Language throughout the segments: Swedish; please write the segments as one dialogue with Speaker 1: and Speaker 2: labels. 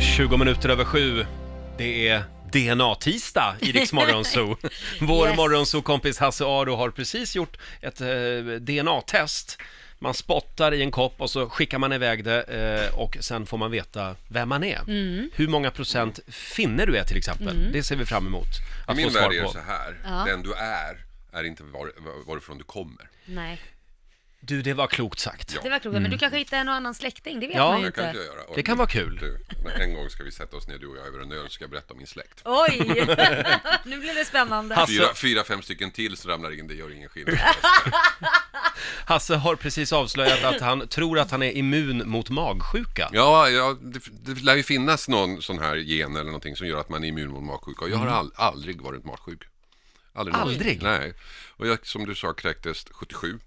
Speaker 1: 20 minuter över sju. Det är DNA-tisdag i Rix Morgonzoo. Vår
Speaker 2: Yes.
Speaker 1: morgonzoo-kompis Hasse Aro har precis gjort ett eh, DNA-test. Man spottar i en kopp och så skickar man iväg det eh, och sen får man veta vem man är. Hur många procent finner du är till exempel. Det ser vi fram emot
Speaker 3: I
Speaker 1: att få
Speaker 3: min
Speaker 1: svar
Speaker 3: värld är det
Speaker 1: på.
Speaker 3: så här.
Speaker 2: Ja.
Speaker 3: Den du är, är inte var, var- varifrån du kommer.
Speaker 2: Nej,
Speaker 1: Du, det var klokt sagt.
Speaker 3: Ja.
Speaker 2: det var klokt. Men du kanske hittar en och annan släkting, det vet
Speaker 1: Ja.
Speaker 2: man ju
Speaker 3: Det kan
Speaker 2: inte.
Speaker 3: inte jag göra. Och
Speaker 1: Det kan vara kul.
Speaker 3: Du, en gång ska vi sätta oss ner du och jag över en öl så ska jag berätta om min släkt.
Speaker 2: Oj, nu blir det spännande.
Speaker 1: Hasse-
Speaker 3: Fyra, fyra fem stycken till så ramlar in, det gör ingen skillnad.
Speaker 1: Hasse har precis avslöjat att han tror att han är immun mot magsjuka.
Speaker 3: Ja, ja det, det lär ju finnas någon sån här gen eller någonting som gör att man är immun mot magsjuka. Och Jag har all, aldrig varit magsjuk. Aldrig? någonsin.
Speaker 1: Mm. Aldrig? Mm.
Speaker 3: Nej. Och jag, som du sa, kräktes 77.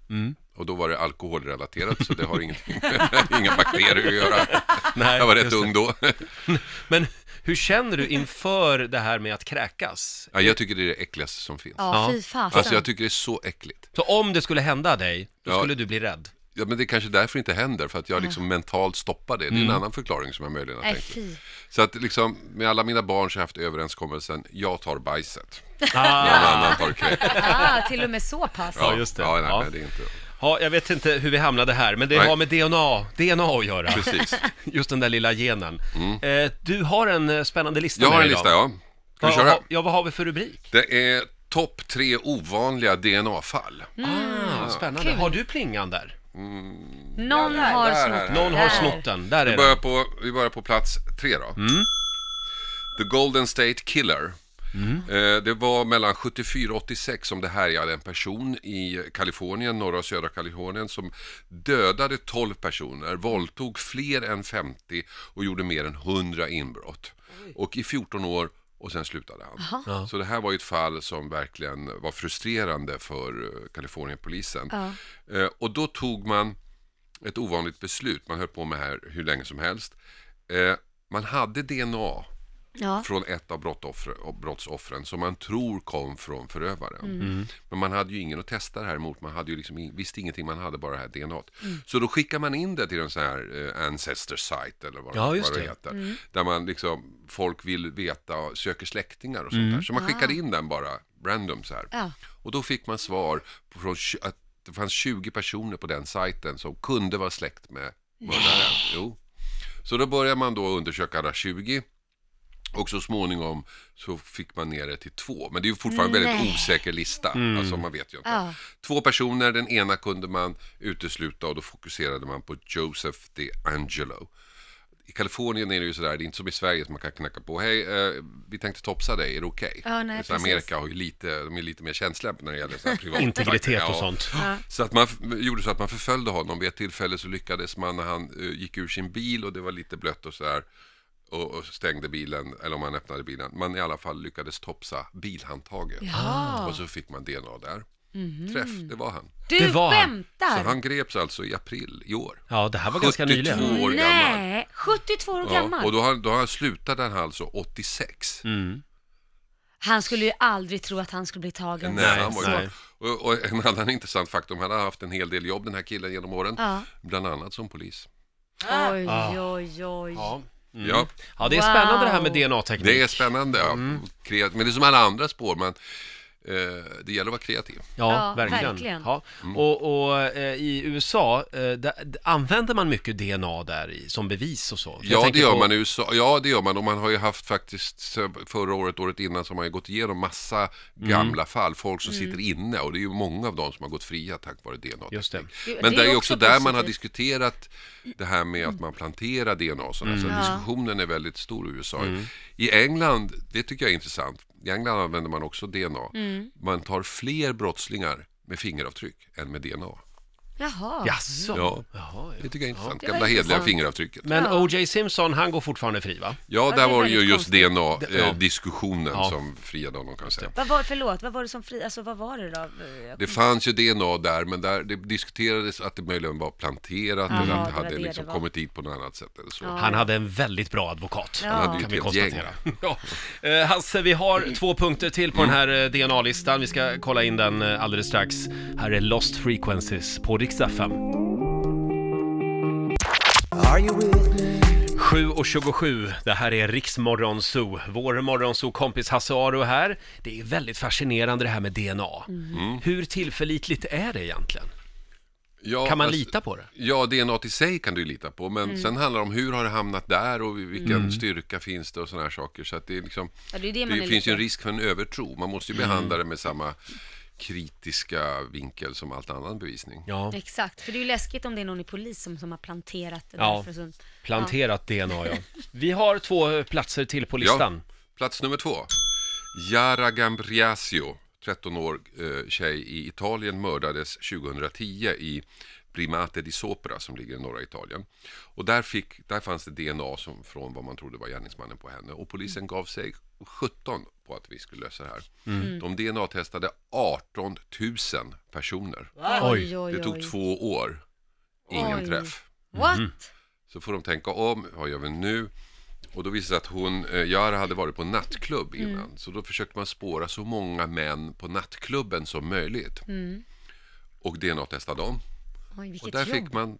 Speaker 3: Och då var det alkoholrelaterat, så det har ingenting med inga bakterier att göra.
Speaker 1: Nej,
Speaker 3: Jag var rätt
Speaker 1: just det.
Speaker 3: ung då.
Speaker 1: Men hur känner du inför det här med att kräkas?
Speaker 3: Ja, jag tycker det är det äckligaste som finns.
Speaker 2: Ja,
Speaker 1: Ja.
Speaker 2: fy fasen.
Speaker 3: Alltså jag tycker det är så äckligt.
Speaker 1: Så om det skulle hända dig, då
Speaker 3: Ja.
Speaker 1: skulle du bli rädd?
Speaker 3: Ja, men det är kanske därför inte händer, för att jag liksom mentalt stoppar det. Det är
Speaker 1: Mm.
Speaker 3: en annan förklaring som jag möjligen har
Speaker 2: Nej,
Speaker 3: tänkt.
Speaker 2: fy.
Speaker 3: Så att liksom, med alla mina barn så har jag haft överenskommelsen, jag tar bajset.
Speaker 1: Ah.
Speaker 3: Någon annan tar kräket.
Speaker 2: Ah, till och med så pass.
Speaker 1: Ja, just det.
Speaker 3: Ja, nej,
Speaker 1: Ja.
Speaker 3: nej, det är inte...
Speaker 1: Ja, jag vet inte hur vi hamnade här, men det
Speaker 3: Nej.
Speaker 1: har med DNA, DNA att göra.
Speaker 3: Precis. Mm.
Speaker 1: Just den där lilla genen. Eh, du har en eh, spännande lista
Speaker 3: Jag
Speaker 1: med
Speaker 3: har en
Speaker 1: dig
Speaker 3: lista,
Speaker 1: idag.
Speaker 3: ja. Ska vi
Speaker 1: Vad-
Speaker 3: köra?
Speaker 1: vad- Ja, vad har vi för rubrik?
Speaker 3: Det är topp tre ovanliga DNA-fall.
Speaker 1: Ah, spännande.
Speaker 2: Mm. Kul.
Speaker 1: Har du plingan där?
Speaker 2: Någon
Speaker 3: Ja, där,
Speaker 2: har
Speaker 3: där,
Speaker 2: snott
Speaker 3: där.
Speaker 1: Någon
Speaker 2: där.
Speaker 1: har snott den. Där
Speaker 3: Vi
Speaker 1: är
Speaker 3: börjar
Speaker 1: den.
Speaker 3: på, vi börjar på plats tre då. The Golden State Killer. Eh, Det var mellan 74 och 86 som det härjade en person i Kalifornien, norra och södra Kalifornien, som dödade 12 personer, våldtog fler än 50 och gjorde mer än 100 inbrott. Och i 14 år och sen slutade han. Så det här var ju ett fall som verkligen var frustrerande för eh, Kalifornienpolisen. Eh, Och då tog man ett ovanligt beslut. Man höll på med det här hur länge som helst. Eh, man hade DNA
Speaker 2: Ja.
Speaker 3: från ett av brottoffre- och brottsoffren som man tror kom från förövaren.
Speaker 2: Mm.
Speaker 1: Mm.
Speaker 3: Men man hade ju ingen att testa det här mot. Man hade ju liksom in, visste ingenting, man hade bara det här DNA. t.
Speaker 2: Mm.
Speaker 3: Så då skickar man in det till en sån här eh, ancestor site eller vad,
Speaker 1: Ja,
Speaker 3: vad
Speaker 1: just
Speaker 3: det
Speaker 1: det.
Speaker 3: heter.
Speaker 2: Mm.
Speaker 3: Där man liksom, folk vill veta, söker släktingar och sånt
Speaker 1: Mm.
Speaker 3: där. Så man skickade in den bara random så här.
Speaker 2: Ah. Ja.
Speaker 3: Och då fick man svar på- från tj- att det fanns 20 personer på den sajten som kunde vara släkt med mördaren. Jo. Så då började man då undersöka alla 20 och så småningom så fick man ner det till två. Men det är ju fortfarande en
Speaker 2: Nej.
Speaker 3: väldigt osäker lista. Alltså man vet ju inte.
Speaker 2: Ja.
Speaker 3: Två personer, den ena kunde man utesluta och då fokuserade man på Joseph DeAngelo. I Kalifornien är det ju sådär, det är inte som i Sverige som man kan knacka på. Hej, eh, vi tänkte topsa dig, är det okej?
Speaker 2: Ja, nej,
Speaker 3: Så
Speaker 2: precis.
Speaker 3: Amerika har ju lite, de är lite mer känsliga när det gäller så här privat
Speaker 1: Integritet
Speaker 3: Ja.
Speaker 1: och sånt.
Speaker 3: Så att man f- gjorde så att man förföljde honom. Vid ett tillfälle så lyckades man när han eh, gick ur sin bil och det var lite blött och sådär och, och stängde bilen, eller om han öppnade bilen. Man i alla fall lyckades topsa bilhandtaget.
Speaker 2: Ja.
Speaker 3: Ah.
Speaker 2: Mhm.
Speaker 3: Och så fick man DNA där. Träff, det var han.
Speaker 2: Du
Speaker 1: Det var han.
Speaker 2: skämtar!
Speaker 3: Så han greps alltså i april i år.
Speaker 1: Ja, det här var ganska
Speaker 3: 72
Speaker 1: nyligen.
Speaker 3: år gammal.
Speaker 2: Nej, 72 år gammal.
Speaker 3: Ja, och då, har, då har han slutade han alltså 86.
Speaker 2: Han skulle ju aldrig tro att han skulle bli tagen.
Speaker 3: Nej, han var ju
Speaker 1: nej.
Speaker 3: Och, och en annan intressant faktum, han har haft en hel del jobb den här killen genom åren.
Speaker 2: Ja.
Speaker 3: Bland annat som polis.
Speaker 2: Oj,
Speaker 1: Ah.
Speaker 2: oj, oj.
Speaker 1: Ja.
Speaker 3: Ja,
Speaker 1: ja, det är
Speaker 2: Wow.
Speaker 1: spännande det här med DNA-teknik.
Speaker 3: det är spännande. Ja. Kreat- Men det är som alla andra spår, men eh, det gäller att vara kreativ.
Speaker 1: Ja,
Speaker 2: Ja,
Speaker 1: verkligen.
Speaker 2: verkligen.
Speaker 1: Ja.
Speaker 3: Mm.
Speaker 1: Och, och eh, i USA, eh, där, d- använder man mycket DNA där i, som bevis och så? För jag
Speaker 3: Ja det,
Speaker 1: tänker
Speaker 3: gör
Speaker 1: på-
Speaker 3: man i USA. ja, det gör man. Och man har ju haft faktiskt sen förra året, året innan, så har man ju gått igenom massa
Speaker 1: Mm.
Speaker 3: gamla fall. Folk som sitter inne och det är ju många av dem som har gått fria tack vare DNA.
Speaker 1: Just det.
Speaker 2: Jo,
Speaker 3: Men det är ju också där man har
Speaker 2: positivt.
Speaker 3: diskuterat det här med att man planterar DNA och sådana.
Speaker 1: Mm.
Speaker 3: Så diskussionen är väldigt stor i USA. I England, det tycker jag är intressant, i England använder man också DNA.
Speaker 1: Mm.
Speaker 3: Man tar fler brottslingar med fingeravtryck än med DNA.
Speaker 2: Jaha.
Speaker 1: Jaså?
Speaker 3: Ja.
Speaker 1: Jaha,
Speaker 3: Det
Speaker 1: ja.
Speaker 3: tycker jag är intressant.
Speaker 2: Det var
Speaker 3: Gamla hederliga
Speaker 2: intressant.
Speaker 3: fingeravtrycket.
Speaker 1: Men
Speaker 2: Ja.
Speaker 1: O.J. Simpson, han går fortfarande fri va?
Speaker 3: Ja,
Speaker 2: det är
Speaker 3: där var det ju
Speaker 2: väldigt
Speaker 3: just
Speaker 2: konstigt.
Speaker 1: Ja.
Speaker 3: DNA-diskussionen
Speaker 1: Ja.
Speaker 3: eh, som friade honom kan jag säga.
Speaker 2: Vad var, förlåt, vad var det som fri... Alltså vad var det då?
Speaker 3: Det fanns ju DNA där, men där det diskuterades att det möjligen var planterat
Speaker 2: Jaha,
Speaker 3: eller att
Speaker 2: det
Speaker 3: det
Speaker 2: var
Speaker 3: hade
Speaker 2: det
Speaker 3: liksom
Speaker 2: det var.
Speaker 3: kommit dit på något annat sätt eller så.
Speaker 2: Ja.
Speaker 1: Han hade en väldigt bra advokat,
Speaker 2: Han hade ju
Speaker 1: kan
Speaker 3: ett
Speaker 1: vi
Speaker 3: helt
Speaker 1: konstatera. Ja. Eh, Hasse, vi
Speaker 3: Mm.
Speaker 1: har två punkter till på den här eh, DNA-listan. Vi ska kolla in den eh, alldeles strax. Här är Lost Frequencies på riksdag 5.
Speaker 4: Are you with me?
Speaker 1: 7.27, det här är Riksmorgon Zoo. Vår morgonzoo-kompis Hasse Aro här. Det är väldigt fascinerande det här med DNA. Hur tillförlitligt är det egentligen?
Speaker 3: Ja,
Speaker 1: Kan man
Speaker 3: alltså-
Speaker 1: lita på det?
Speaker 3: Ja, DNA i sig kan du ju lita på, men
Speaker 2: Mm.
Speaker 3: sen handlar det om hur har det hamnat där och vilken styrka finns det och sådana här saker. Så att det är liksom,
Speaker 2: Ja, det är det man
Speaker 3: det
Speaker 2: är
Speaker 3: finns ju
Speaker 2: lite- Mm.
Speaker 3: en risk för en övertro. Man måste ju behandla det med samma kritiska vinkel som allt annan bevisning.
Speaker 1: Ja,
Speaker 2: Exakt, för det är ju läskigt om det är någon i polis som, som har planterat det
Speaker 1: Ja.
Speaker 2: där. För sånt.
Speaker 1: planterat DNA ja. Vi har två eh, platser till på listan.
Speaker 3: Plats nummer två. Yara Gambriasio, 13 år eh, tjej i Italien, mördades 2010 i Primate di Sopra som ligger i norra Italien. Och där, fick, där fanns det DNA som, från vad man trodde var gärningsmannen på henne. Och polisen gav sig 17 på att vi skulle lösa det här.
Speaker 2: Mm.
Speaker 3: De DNA-testade 18 000 personer.
Speaker 1: Oj.
Speaker 2: oj,
Speaker 3: Det tog två år. Ingen
Speaker 2: Oj.
Speaker 3: träff.
Speaker 2: What?
Speaker 1: Mm.
Speaker 3: Så får de tänka om, vad gör vi nu? Och då visade det sig att hon, eh, Yara hade varit på nattklubb
Speaker 2: Mm.
Speaker 3: innan. Så då försökte man spåra så många män på nattklubben som möjligt. Och DNA-testa dem.
Speaker 2: Oj, Mm. vilket
Speaker 3: Och där
Speaker 2: jobb.
Speaker 3: fick man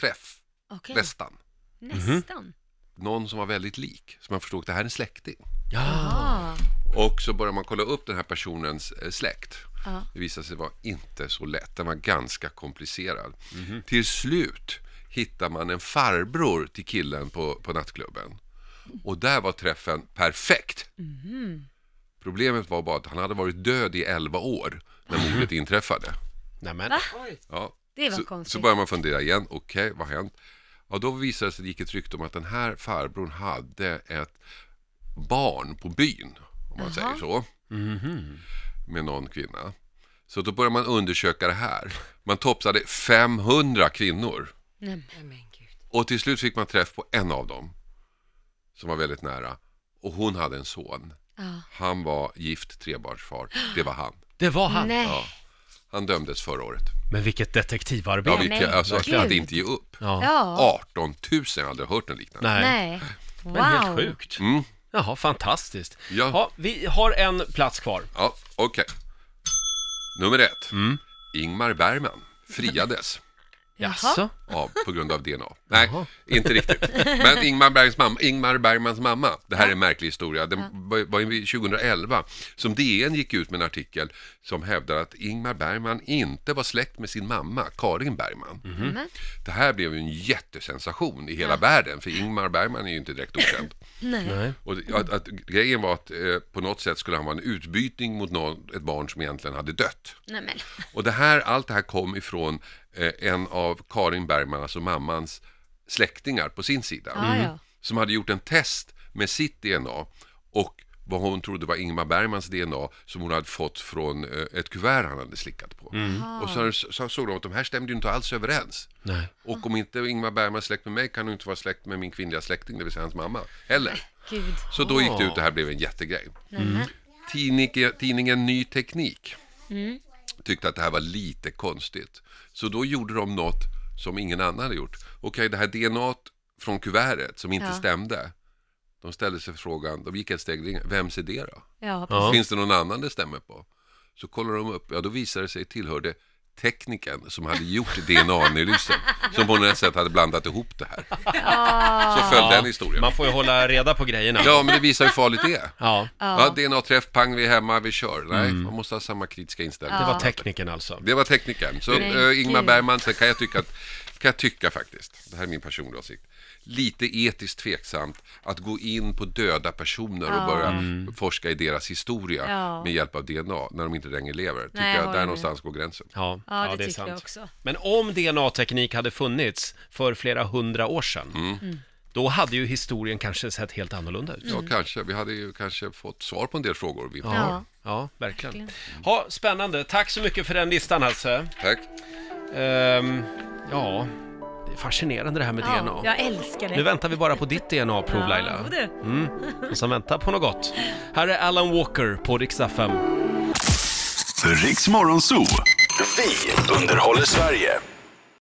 Speaker 3: träff,
Speaker 2: Okej,
Speaker 3: nästan.
Speaker 1: Mm.
Speaker 2: Nästan.
Speaker 3: Någon som var väldigt lik. Så man förstod att det här är en släkting.
Speaker 1: Ja.
Speaker 2: Ah.
Speaker 3: Och så började man kolla upp den här personens eh, släkt.
Speaker 2: Ja.
Speaker 3: Det visade sig vara inte så lätt. Den var ganska komplicerad. Till slut hittar man en farbror till killen på, på nattklubben. Och där var träffen perfekt. Problemet var bara att han hade varit död i 11 år när mordet inträffade.
Speaker 1: Nämen.
Speaker 2: Va?
Speaker 3: Ja.
Speaker 2: Det var
Speaker 3: Så,
Speaker 2: konstigt.
Speaker 3: så börjar man fundera igen, okej, vad har hänt? Ja, då visade det sig, det gick ett rykte om att den här farbrorn hade ett barn på byn, om man säger så, med någon kvinna. Så då började man undersöka det här. Man topsade 500 kvinnor
Speaker 2: Nej,
Speaker 3: och till slut fick man träff på en av dem som var väldigt nära och hon hade en son.
Speaker 2: Ja.
Speaker 3: Han var gift trebarnsfar, det var han.
Speaker 1: Det var han.
Speaker 2: Nej.
Speaker 3: Ja. Han dömdes förra året.
Speaker 1: Men vilket
Speaker 3: Ja,
Speaker 1: detektivarbete.
Speaker 2: vi-
Speaker 3: vilka,
Speaker 2: men
Speaker 3: alltså att
Speaker 2: gud.
Speaker 3: inte ge upp.
Speaker 1: Ja.
Speaker 2: Ja.
Speaker 3: 18 000, jag har aldrig hört något liknande.
Speaker 1: Ah. Nej.
Speaker 2: Nej. Wow.
Speaker 1: Men helt sjukt.
Speaker 3: Mm.
Speaker 1: Jaha, fantastiskt.
Speaker 3: Ja.
Speaker 1: Ja, vi har en plats kvar.
Speaker 3: Ja, okej. Nummer ett.
Speaker 1: Mm.
Speaker 3: Ingmar Bergman friades
Speaker 2: Jaha.
Speaker 1: Jaså?
Speaker 3: av, på grund av DNA. Nej,
Speaker 1: Jaha.
Speaker 3: inte riktigt. Men Ingmar Bergmans, mamma, Ingmar Bergmans mamma, det här är en märklig historia, den var var i 2011 som DN gick ut med en artikel som hävdar att Ingmar Bergman inte var släkt med sin mamma Karin Bergman.
Speaker 1: Mhm. Mm.
Speaker 2: Men,
Speaker 3: Det här blev ju en jättesensation i hela världen, för Ingmar Bergman är ju inte direkt okänd.
Speaker 2: nej.
Speaker 1: Nej.
Speaker 3: Och det- att, att, grejen var att eh, på något sätt skulle han vara en utbytning mot någon, ett barn som egentligen hade dött.
Speaker 2: Nej men.
Speaker 3: Och det här, allt det här kom ifrån eh, en av Karin Bergman, alltså mammans släktingar på sin sida.
Speaker 2: Ja,
Speaker 1: Mm.
Speaker 2: ja.
Speaker 3: Som hade gjort en test med sitt DNA och vad hon trodde var Ingmar Bergmans DNA som hon hade fått från eh, ett kuvert han hade slickat på. Och så, så såg de att de här stämde ju inte alls överens.
Speaker 1: Nej.
Speaker 3: Och om inte Ingmar Bergman är släkt med mig kan hon inte vara släkt med min kvinnliga släkting, det vill säga hans mamma, heller.
Speaker 2: Gud.
Speaker 3: Så då gick det ut, det här blev en jättegrej.
Speaker 2: Nej,
Speaker 1: Mm.
Speaker 2: men.
Speaker 3: Tidning, tidningen Ny Teknik tyckte att det här var lite konstigt. Så då gjorde de något som ingen annan hade gjort. Okej, det här DNA från kuvertet som inte
Speaker 2: Ja.
Speaker 3: stämde. De ställde sig frågan, de gick ett steg längre, vems är det då?
Speaker 2: Ja,
Speaker 1: Ja.
Speaker 3: Finns det någon annan det stämmer på? Så kollade de upp, ja då visade det sig tillhörde tekniken som hade gjort DNA-analysen. som på något sätt hade blandat ihop det här.
Speaker 2: Ah.
Speaker 3: Så föll den historien.
Speaker 1: Man får ju hålla reda på grejerna.
Speaker 3: Ja, men det visar hur farligt det är.
Speaker 1: Ja,
Speaker 3: Ja, DNA-träff, pang, vi är hemma, vi kör. Nej, man måste ha samma kritiska inställning.
Speaker 1: det var tekniken alltså.
Speaker 3: Det var teknikern. Så
Speaker 2: Nej,
Speaker 3: eh, Ingmar
Speaker 2: gud.
Speaker 3: Bergman, sen kan jag tycka att, kan jag tycka faktiskt, det här är min personliga åsikt, lite etiskt tveksamt att gå in på döda personer och börja forska i deras historia
Speaker 2: Ja.
Speaker 3: med hjälp av DNA när de inte längre lever. Tycker
Speaker 2: jag
Speaker 3: jag,
Speaker 2: håller
Speaker 3: där
Speaker 2: med.
Speaker 3: någonstans går gränsen.
Speaker 1: Ja,
Speaker 2: Ja, det tycker jag också.
Speaker 1: Men om DNA-teknik hade funnits för flera hundra år sedan,
Speaker 2: Mm.
Speaker 1: då hade ju historien kanske sett helt annorlunda ut.
Speaker 3: Ja, kanske. Vi hade ju kanske fått svar på en del frågor. Vi
Speaker 2: Ja.
Speaker 1: Ja, verkligen. Ja, spännande. Tack så mycket för den listan Hasse.
Speaker 3: Tack.
Speaker 1: Ehm, ja, det är fascinerande det här med
Speaker 2: ja.
Speaker 1: DNA.
Speaker 2: Jag älskar det.
Speaker 1: Nu väntar vi bara på ditt DNA-prov Laila.
Speaker 2: Ja, du.
Speaker 1: Och sen vänta på något gott. Här är Alan Walker på Riksdag 5.
Speaker 4: Riks Morgonzoo. Vi underhåller Sverige.